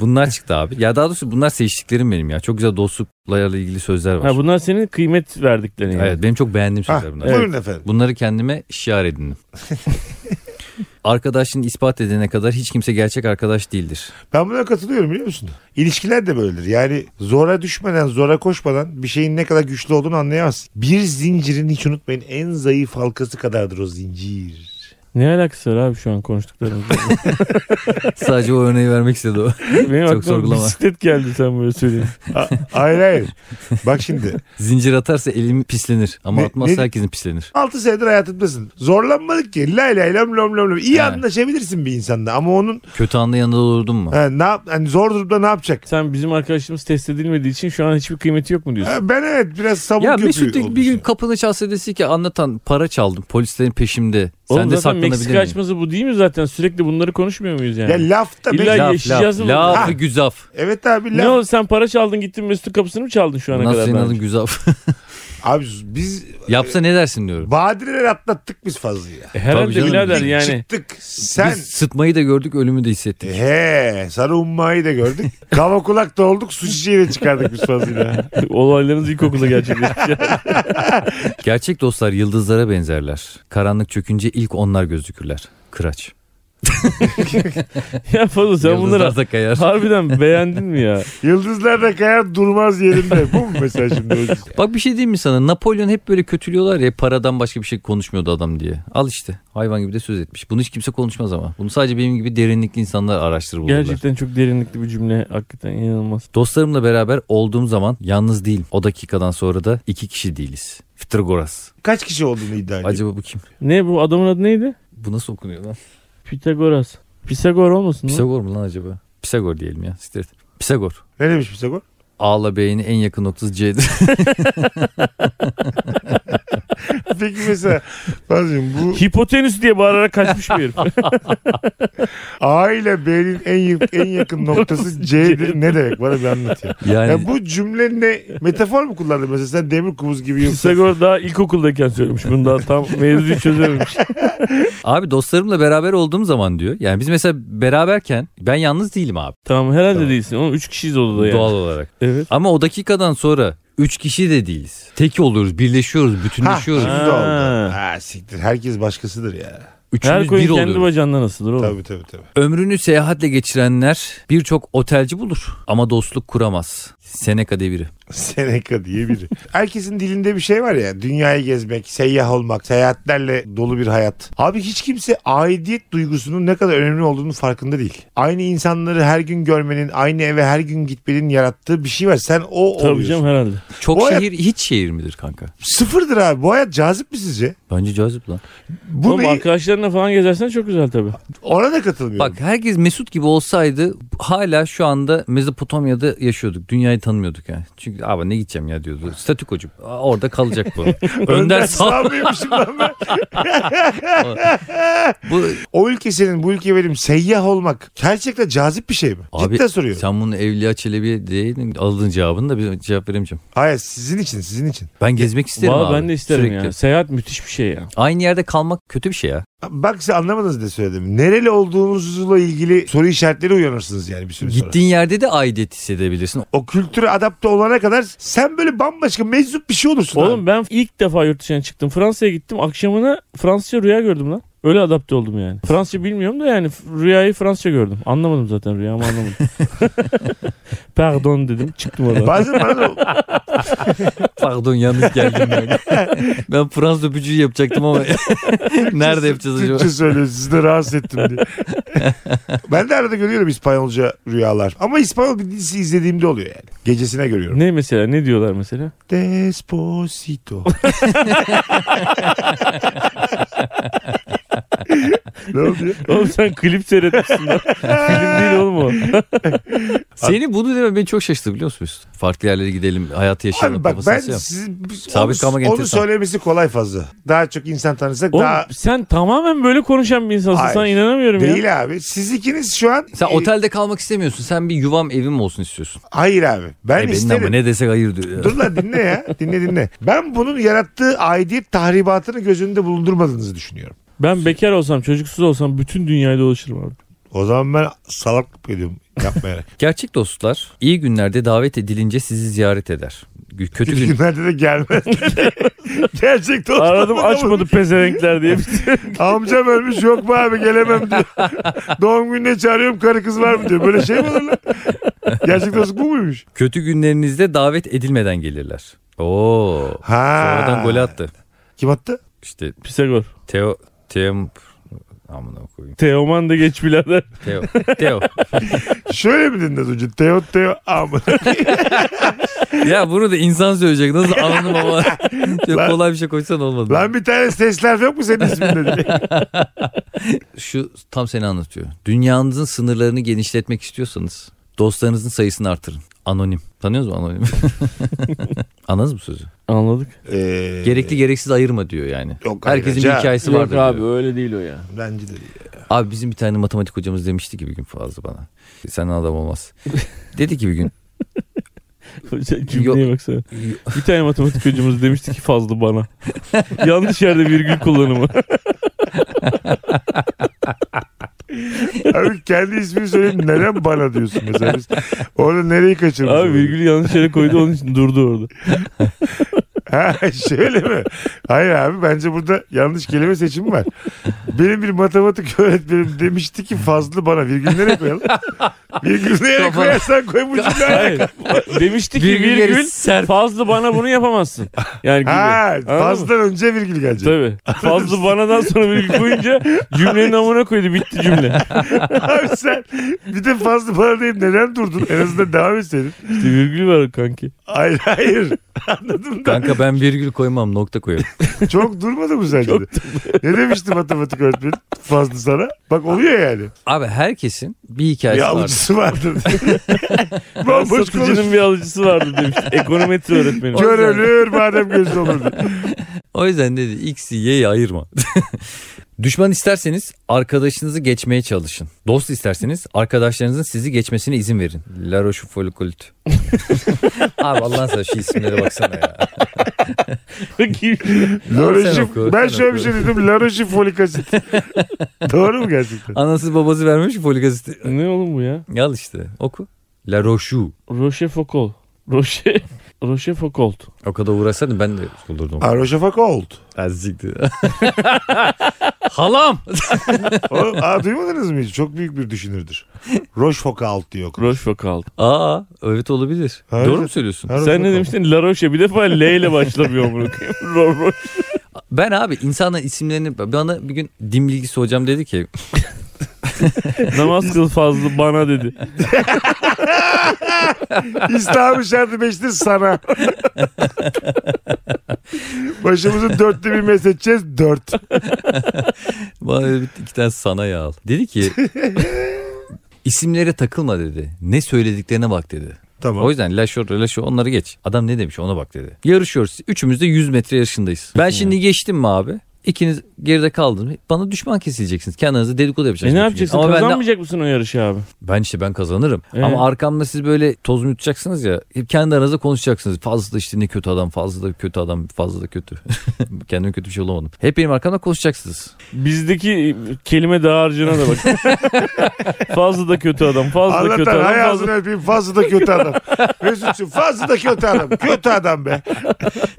S2: Bunlar çıktı abi. Ya daha doğrusu bunlar seçtiklerim benim ya. Çok güzel dostluklarla ilgili sözler var.
S3: Ha, bunlar senin kıymet verdiklerin. yani.
S2: Evet benim çok beğendiğim
S1: Ha,
S2: sözler bunlar.
S1: buyurun efendim.
S2: Bunları kendime şiar edindim. Arkadaşını ispat edene kadar hiç kimse gerçek arkadaş değildir.
S1: Ben buna katılıyorum biliyor musun? İlişkiler de böyledir. Yani zora düşmeden, zora koşmadan bir şeyin ne kadar güçlü olduğunu anlayamazsın. Bir zincirin hiç unutmayın en zayıf halkası kadardır o zincir.
S3: Ne alakası var abi şu an konuştuklarımızla?
S2: Sadece o örneği vermek istedi o.
S3: Benim
S2: Çok
S3: aklıma
S2: sorgulama.
S3: bisiklet geldi sen böyle söyleyince.
S1: A- hayır hayır. Bak şimdi.
S2: Zincir atarsa elim pislenir ama
S1: Ne-
S2: atmazsa
S1: ne-
S2: herkesin pislenir.
S1: 6 senedir hayatımdasın. Zorlanmadık ki. Lay lay lam lom lom lom. İyi
S2: Ha.
S1: anlaşabilirsin bir insanla ama onun
S2: Kötü anda yanında olurdun mu?
S1: ha, ne yap, hani zor durumda ne yapacak?
S3: Sen bizim arkadaşımız test edilmediği için şu an hiçbir kıymeti yok mu
S1: Ha,
S3: diyorsun?
S1: Ben evet biraz sabun
S2: Ya
S1: köpüğü
S2: Mesut
S1: olmuşum.
S2: bir gün kapını çalsa dese ki anlatan para çaldım polislerin peşimde.
S3: Oğlum
S2: Sen de
S3: zaten
S2: saklanabilir
S3: Meksika
S2: miyim?
S3: açması bu değil mi zaten? Sürekli bunları konuşmuyor muyuz yani?
S1: Ya lafta
S3: İlla-
S1: Meksika-
S2: Laf,
S3: yaşayacağız
S2: laf,
S3: mı?
S2: lafı
S1: Ha.
S2: güzaf.
S1: Evet abi
S3: ne
S1: laf.
S3: oldu sen para çaldın gittin Mesut'un kapısını mı çaldın şu ana
S2: Nasıl
S3: kadar?
S2: senin
S3: daha
S2: adın
S3: önce?
S2: güzaf?
S1: Abi biz
S2: Yapsa ne dersin diyorum.
S1: badireler atlattık biz fazla ya.
S3: E, Herhalde
S2: Tabii canım.
S3: birader
S1: İlk
S3: yani.
S1: Çıktık. Sen E, Eh.
S2: Biz sıtmayı da gördük ölümü de hissettik.
S1: He, sarı ummayı da gördük. Kava kulak da olduk, su çiçeği de çıkardık biz fazlıyla.
S3: Olaylarınız ilkokulda gerçekleşti.
S2: Gerçek dostlar yıldızlara benzerler. Karanlık çökünce ilk onlar gözükürler. Kıraç.
S3: ya Fazıl sen bunları
S2: Yıldızlar da kayar.
S3: harbiden beğendin mi ya?
S1: Yıldızlar da kayar durmaz yerinde. Bu mu mesela şimdi? o yüzden?
S2: Bak bir şey diyeyim mi sana? Napolyon hep böyle kötülüyorlar ya paradan başka bir şey konuşmuyordu adam diye. Al işte hayvan gibi de söz etmiş. Bunu hiç kimse konuşmaz ama. Bunu sadece benim gibi derinlikli insanlar araştırır bulurlar.
S3: Gerçekten çok derinlikli bir cümle. Hakikaten inanılmaz.
S2: Dostlarımla beraber olduğum zaman yalnız değilim. O dakikadan sonra da iki kişi değiliz. Fitragoras.
S1: Kaç kişi olduğunu iddia ediyor.
S2: Acaba bu kim?
S3: Ne bu adamın adı neydi?
S2: Bu nasıl okunuyor lan?
S3: Pitagoras. Pisagor olmasın mı?
S2: Pisagor mu lan acaba? Pisagor diyelim ya. Siktir et. Pisagor.
S1: Ne demiş Pisagor?
S2: A'la B'nin en yakın noktası C'dir.
S1: Peki mesela Fazlıcığım bu
S3: Hipotenüs diye bağırarak kaçmış bir herif.
S1: A ile B'nin en, y- en yakın noktası C'dir. Ne demek bana bir anlat ya.
S2: Yani
S1: Ya bu cümle ne? Metafor mu kullandın mesela? Sen demir kubuz gibi yoksa.
S3: Pisagor daha ilkokuldayken söylemiş. Bunu daha tam mevzuyu çözememiş.
S2: abi dostlarımla beraber olduğum zaman diyor. Yani biz mesela beraberken ben yalnız değilim abi
S3: Tamam herhalde
S1: Tamam.
S3: değilsin. Oğlum 3 kişiyiz odada yani.
S2: doğal olarak.
S3: Evet.
S2: Ama o dakikadan sonra üç kişi de değiliz. Tek oluyoruz, birleşiyoruz, bütünleşiyoruz.
S1: şimdi oldu.
S3: Ha.
S1: Ha siktir. Herkes başkasıdır ya.
S3: Her
S2: Üçümüz
S3: koyun
S2: bir
S3: kendi
S2: oluyoruz.
S3: bacağından asılır oğlum.
S1: Tabii tabii tabii.
S2: Ömrünü seyahatle geçirenler birçok otelci bulur ama dostluk kuramaz. Seneca deviri.
S1: Seneca diye biri. Herkesin dilinde bir şey var ya. Dünyayı gezmek, seyyah olmak, seyahatlerle dolu bir hayat. Abi hiç kimse aidiyet duygusunun ne kadar önemli olduğunu farkında değil. Aynı insanları her gün görmenin, aynı eve her gün gitmenin yarattığı bir şey var. Sen o
S3: Tabii
S1: oluyorsun.
S3: canım herhalde.
S2: Çok
S1: Bu hayat-
S2: şehir hiç şehir midir kanka?
S1: Sıfırdır abi. Bu hayat cazip mi sizce?
S2: Bence cazip lan.
S1: Bu
S3: Oğlum
S1: neyi-
S3: arkadaşlarına falan gezersen çok güzel tabii.
S1: Ona da katılmıyorum.
S2: Bak herkes Mesut gibi olsaydı hala şu anda Mezopotamya'da yaşıyorduk. Dünyayı tanımıyorduk yani. Çünkü abi ne gideceğim ya diyordu. Statükocu. Aa, Orada kalacak bu. Önder sağ.
S1: sağlıyormuşum lan ben.
S2: Bu...
S1: O ülke senin, bu ülke benim. Seyyah olmak gerçekten cazip bir şey mi?
S2: Abi,
S1: Cidden soruyorum.
S2: Sen bunu Evliya Çelebi diyeydin. Aldığın cevabını da bir cevap veremeyeceğim.
S1: Hayır sizin için, sizin için.
S2: Ben gezmek isterim
S3: Vallahi
S2: abi.
S3: ben de isterim
S2: Sürekli.
S3: ya. Seyahat müthiş bir şey ya.
S2: Aynı yerde kalmak kötü bir şey ya.
S1: Bak siz anlamadınız ne söyledim. Nereli olduğunuzla ilgili soru işaretleri uyanırsınız yani bir süre sonra.
S2: Gittiğin yerde de aidiyet hissedebilirsin.
S1: O kültüre adapte olana kadar sen böyle bambaşka meczup bir şey olursun. abi.
S3: Oğlum ben ilk defa yurt dışına çıktım. Fransa'ya gittim. Akşamına Fransızca rüya gördüm lan. Öyle adapte oldum yani. Fransızca bilmiyorum da yani f- rüyayı Fransızca gördüm. Anlamadım zaten rüyamı anlamadım. Pardon dedim çıktım oradan.
S1: Bazen bana da
S2: Pardon yanlış geldim ben. ben Fransız öpücüğü yapacaktım ama nerede yapacağız acaba?
S1: Türkçe söylüyorsun sizi de rahatsız ettim diye. ben de arada görüyorum İspanyolca rüyalar. Ama İspanyol bir dizisi izlediğimde oluyor yani. Gecesine görüyorum.
S3: Ne mesela ne diyorlar mesela?
S1: Despacito. ne oldu?
S3: Oğlum sen klip seyretmişsin lan. Film değil oğlum o.
S2: Seni bunu deme beni çok şaşırttı biliyor musun Mesut? Farklı yerlere gidelim, hayatı yaşayalım
S1: Abi bak
S2: kafasını
S1: ben
S2: sıyam.
S1: sizin onu,
S2: Sabit kalmak
S1: onu
S2: enteresan.
S1: söylemesi kolay fazla. Daha çok insan tanırsak
S3: Oğlum
S1: daha
S3: sen tamamen böyle konuşan bir insansın.
S1: Hayır.
S3: Sana inanamıyorum ya.
S1: değil abi. Siz ikiniz şu an
S2: Sen
S1: e,
S2: otelde kalmak istemiyorsun. Sen bir yuvam evim olsun istiyorsun.
S1: Hayır abi. Ben
S2: E, benim
S1: isterim.
S2: ama ne desek hayır diyor. ya.
S1: Dur lan dinle ya. Dinle dinle. Ben bunun yarattığı aidiyet tahribatını gözünde bulundurmadığınızı düşünüyorum.
S3: Ben bekar olsam çocuksuz olsam bütün dünyayı dolaşırım abi.
S1: O zaman ben salaklık ediyorum yapmayarak.
S2: Gerçek dostlar iyi günlerde davet edilince sizi ziyaret eder. Gü- Kötü
S1: Kötü
S2: gün.
S1: günlerde de gelmez. Gerçek dostum.
S3: Aradım açmadı pezevenkler diye.
S1: Amcam ölmüş yok mu abi gelemem diyor. Doğum gününe çağırıyorum karı kız var mı diyor. Böyle şey mi olur lan? Gerçek dostluk bu muymuş?
S2: Kötü günlerinizde davet edilmeden gelirler. Oo.
S1: Ha.
S2: Sonradan gol attı.
S1: Kim attı?
S2: İşte
S3: Pisagor.
S2: Teo Teo amına koyayım.
S3: Teoman da geç birader.
S2: Teo. Teo.
S1: Şöyle mi dinledin önce? Teo Teo aman.
S2: ya bunu da insan söyleyecek. Nasıl anladım ama. Şöyle
S1: Lan-
S2: kolay bir şey koysan olmadı.
S1: Lan bir tane sesler yok mu senin isminde diye.
S2: Şu tam seni anlatıyor. Dünyanızın sınırlarını genişletmek istiyorsanız dostlarınızın sayısını artırın. Anonim. Tanıyorsunuz mu anonim? Anladınız mı sözü?
S3: Anladık.
S1: Ee,
S2: Gerekli gereksiz ayırma diyor yani.
S1: Yok,
S2: Herkesin bir
S1: ayrıca-
S2: hikayesi
S3: Yok
S2: vardır. diyor.
S3: abi öyle değil o ya.
S1: Bence de değil.
S2: Abi bizim bir tane matematik hocamız demişti ki bir gün fazla bana. Sen adam olmaz. Dedi ki bir gün.
S3: Sen Cümleye baksana. Bir tane matematik hocamız demişti ki fazla bana. Yanlış yerde virgül kullanımı.
S1: Abi kendi ismini söyleyeyim neden bana diyorsun mesela biz. Orada nereyi kaçırmışız?
S3: Abi virgülü yanlış yere koydu onun için durdu orada.
S1: Ha şöyle mi? Hayır abi bence burada yanlış kelime seçimi var. Benim bir matematik öğretmenim demişti ki fazla bana virgül nereye koyalım? Virgül nereye
S2: Kafana-
S1: koyarsan koy bu cümle.
S3: Hayır. Demişti ki
S2: Virgülleri
S3: virgül
S2: serp.
S3: fazla bana bunu yapamazsın. Yani gibi.
S1: Ha
S3: Anladın mı?
S1: fazladan önce virgül gelecek.
S3: Tabii. Fazla banadan sonra virgül koyunca cümlenin amına koydu bitti cümle.
S1: Abi sen bir de fazla bana deyip neden durdun? En azından devam etseydin.
S3: İşte virgül var kanki.
S1: Hayır hayır. Anladım da.
S2: Kanka ben virgül koymam nokta koyarım.
S1: Çok durmadı mı sence de? Ne demişti matematik öğretmenim fazla sana? Bak oluyor yani.
S2: Abi herkesin bir hikayesi
S1: bir
S2: var.
S1: alıcısı vardır. Bomboş konuş.
S3: Satıcının bir alıcısı vardı demiş. Ekonometri öğretmenim.
S1: Kör ölür madem gözü olur. diye.
S2: O yüzden dedi X'i Y'yi ayırma. Düşman isterseniz arkadaşınızı geçmeye çalışın. Dost isterseniz arkadaşlarınızın sizi geçmesine izin verin. La Rochefoucauld. Abi Allah'ın sana şu isimlere baksana ya.
S1: Laroşi,
S2: Sen oku,
S1: ben
S2: sen
S1: şöyle bir
S2: oku.
S1: şey dedim. Laroşi folik asit. Doğru mu gerçekten?
S2: Anası babası vermemiş folik asit.
S3: ne oğlum bu ya?
S2: Al işte oku. La Rochou.
S3: Rochefoucauld. Roche Rochefoucauld.
S2: O kadar uğraşsaydın ben de bulurdum.
S1: Aroşafak old.
S2: Azıcıktı. Halam.
S1: Oğlum, aa, duymadınız mı hiç? Çok büyük bir düşünürdür. Rochefoucauld diye okur.
S3: Rochefoucauld.
S2: Aa evet olabilir.
S1: Evet.
S2: Doğru mu söylüyorsun?
S3: Sen ne demiştin? La Roche bir defa L ile başlamıyor bunu. Ro- Ro-
S2: Ben abi insanların isimlerini bana bir gün din bilgisi hocam dedi ki
S3: Namaz kıl fazla bana dedi. E
S1: İslam'ın şartı beştir sana. Başımızın dörtte bir mesledeceğiz. Dört.
S2: Bana dedi, bir- iki tane sana yağ al. Dedi ki isimlere takılma dedi. Ne söylediklerine bak dedi. O
S1: Tamam.
S2: yüzden laşor laşor onları geç. Adam ne demiş ona bak dedi. Yarışıyoruz. Üçümüz de 100 metre yarışındayız. Ben şimdi geçtim mi abi? İkiniz geride kaldınız. Bana düşman kesileceksiniz. Kendinize dedikodu
S3: E
S2: yapacaksınız.
S3: ne yapacaksın?
S2: Ama ben, de-
S3: Kazanmayacak mısın o yarışı abi?
S2: ben işte ben kazanırım.
S3: Ee?
S2: Ama arkamda siz böyle toz yutacaksınız ya. Hep kendi aranızda konuşacaksınız. Fazla da işte ne kötü adam, fazla da kötü adam, fazla da kötü. Kendime kötü bir şey olamadım. Hep benim arkamda konuşacaksınız.
S3: Bizdeki kelime dağarcığına da bak. fazla da kötü adam, fazla da kötü
S1: Anlatan
S3: adam.
S1: hayatını
S3: Fazla...
S1: öpeyim fazla da kötü adam. Mesut'cum fazla da kötü adam. Kötü adam be.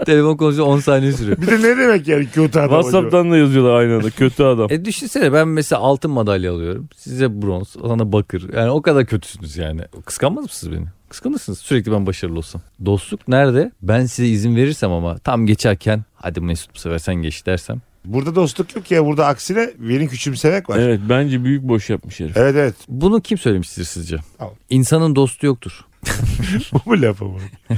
S2: Telefon konuşuyor 10 saniye sürüyor.
S1: Bir de ne demek yani kötü adam acaba?
S3: WhatsApp'tan da yazıyorlar aynı anda. Kötü adam.
S2: E düşünsene ben mesela altın madalya alıyorum. Size bronz, sana bakır. Yani o kadar kötüsünüz yani. Kıskanmaz mısınız beni? Kıskanırsınız sürekli ben başarılı olsam. Dostluk nerede? Ben size izin verirsem ama tam geçerken hadi Mesut bu sefer sen geç dersem.
S1: Burada dostluk yok ya. Burada aksine beni küçümsemek var. Evet
S3: Evet bence büyük boş yapmış herif.
S1: evet.
S2: Bunu kim söylemiştir sizce?
S1: Al.
S2: İnsanın dostu yoktur.
S1: Bu mu laf ama? Bu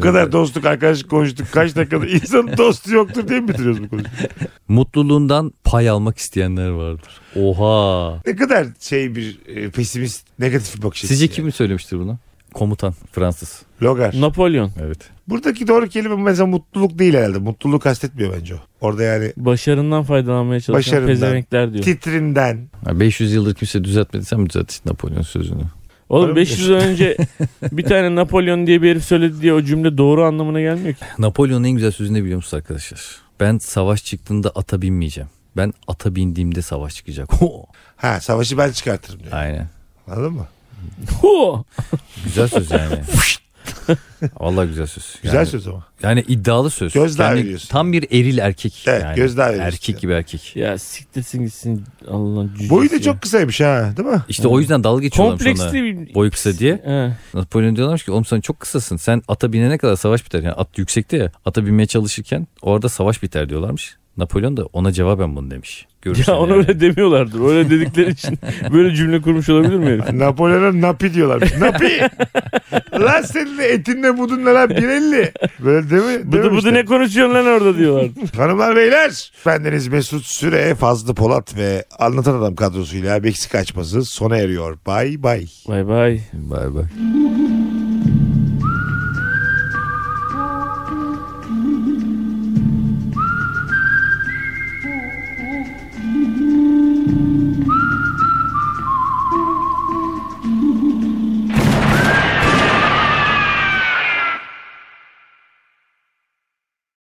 S1: kadar
S2: bakalım.
S1: dostluk arkadaşlık konuştuk. Kaç dakikada insanın dostu yoktur diye mi bitiriyoruz bu konuşmayı?
S2: Mutluluğundan pay almak isteyenler vardır. Oha.
S1: Ne kadar şey bir e, pesimist, negatif bir bakış açısı.
S2: Sizce
S1: yani.
S2: kim söylemiştir bunu? Komutan Fransız.
S1: Logar.
S3: Napolyon.
S2: Evet.
S1: Buradaki doğru kelime mesela mutluluk değil herhalde. Mutluluk kastetmiyor bence o. Orada yani
S3: Başarından faydalanmaya çalışan
S1: Başarından.
S3: pezevenkler diyor.
S1: titrinden.
S2: Ya 500 yıldır kimse düzeltmediysem düzelt Napolyon sözünü.
S3: Oğlum 500 yıl önce bir tane Napolyon diye bir herif söyledi diye o cümle doğru anlamına gelmiyor ki.
S2: Napolyon'un en güzel sözünü biliyor musunuz arkadaşlar? Ben savaş çıktığında ata binmeyeceğim. Ben ata bindiğimde savaş çıkacak. Ho!
S1: Ha savaşı ben çıkartırım diyor.
S2: Aynen.
S1: Anladın mı?
S3: Ho!
S2: Güzel söz yani. Vallahi güzel söz. Yani,
S1: Güzel söz ama.
S2: Yani iddialı söz.
S1: Gözdağı
S2: Yani
S1: veriyorsun.
S2: Tam bir eril erkek.
S1: Evet,
S2: yani.
S1: gözdağı veriyorsun.
S2: Erkek gibi erkek.
S3: Ya siktirsin gitsin Allah'ın cücesi.
S1: Boyu da
S3: ya.
S1: çok kısaymış ha değil mi?
S2: İşte o yüzden dalga geçiyorlarmış ona.
S3: kompleksli bir...
S2: Boyu kısa diye.
S3: He.
S2: Napolyon diyorlarmış ki oğlum sen çok kısasın. Sen ata binene kadar savaş biter. Yani at yüksekte ya. Ata binmeye çalışırken orada savaş biter diyorlarmış. Napolyon da ona cevaben bunu demiş. Görürsen
S3: Ya ona
S2: yani.
S3: öyle demiyorlardır. Öyle dedikleri için böyle cümle kurmuş olabilir mi herif?
S1: Napolyon'a napi diyorlar. Napi! lan senin etinle budunla lan 150. Böyle değil mi?
S3: Bıdı bıdı ne konuşuyorsun lan orada diyorlar.
S1: Hanımlar beyler bendeniz Mesut Süre, Fazlı Polat ve Anlatan Adam kadrosuyla Meksika açması sona eriyor. Bay bay.
S3: Bay bay.
S2: Bay bay.